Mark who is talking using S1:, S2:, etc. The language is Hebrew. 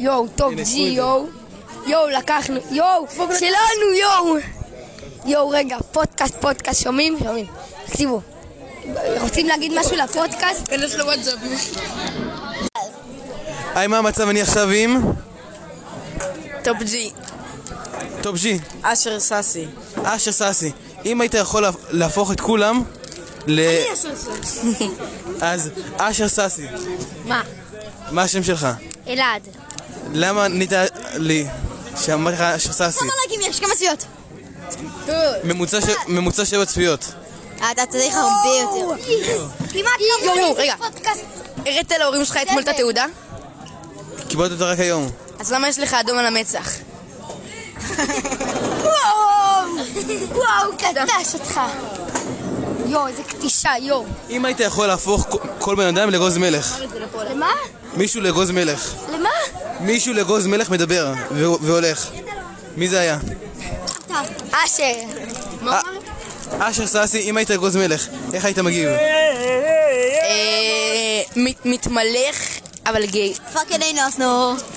S1: יואו, טופ ג'י,
S2: הנה, עשו את זה.
S1: יואו. יואו, לקחנו, יואו, שלנו, יואו. יואו, רגע, פודקאסט, פודקאסט, שומעים? שומעים. תקשיבו, רוצים להגיד משהו לפודקאסט?
S3: כנס לוואטסאפים.
S2: היי, מה המצב אני עכשיו עם?
S3: טופ ג'י.
S2: טופ ג'י,
S4: אשר סאסי.
S2: אשר סאסי. אם היית יכול להפ- להפוך את כולם ל... אז אשר סאסי,
S1: מה?
S2: מה השם שלך?
S1: אלעד.
S2: למה ענית לי שאמרתי לך אשר סאסי?
S5: לייקים יש? כמה צפיות?
S2: ממוצע ש- ממוצע שבע צפיות.
S5: אה, אתה צריך הרבה יותר. כמעט
S3: יואו, יואו,
S5: כמוני.
S3: רגע. הראת להורים שלך אתמול את התעודה?
S2: קיבלת אותה רק היום.
S3: אז למה יש לך אדום על המצח?
S5: וואו, קטש אותך.
S1: יואו, איזה קטישה, יואו.
S2: אם היית יכול להפוך כל- כל בן אדם לאגוז מלך.
S1: למה?
S2: מישהו לאגוז מלך.
S1: למה?
S2: מישהו לאגוז מלך מדבר ו- והולך. מי זה היה?
S1: אשר.
S2: א- אשר סאסי, אם היית אגוז מלך, איך היית מגיב?
S3: אה, מת- מתמלך, אבל גיי.
S5: פאקינג אינוס נו.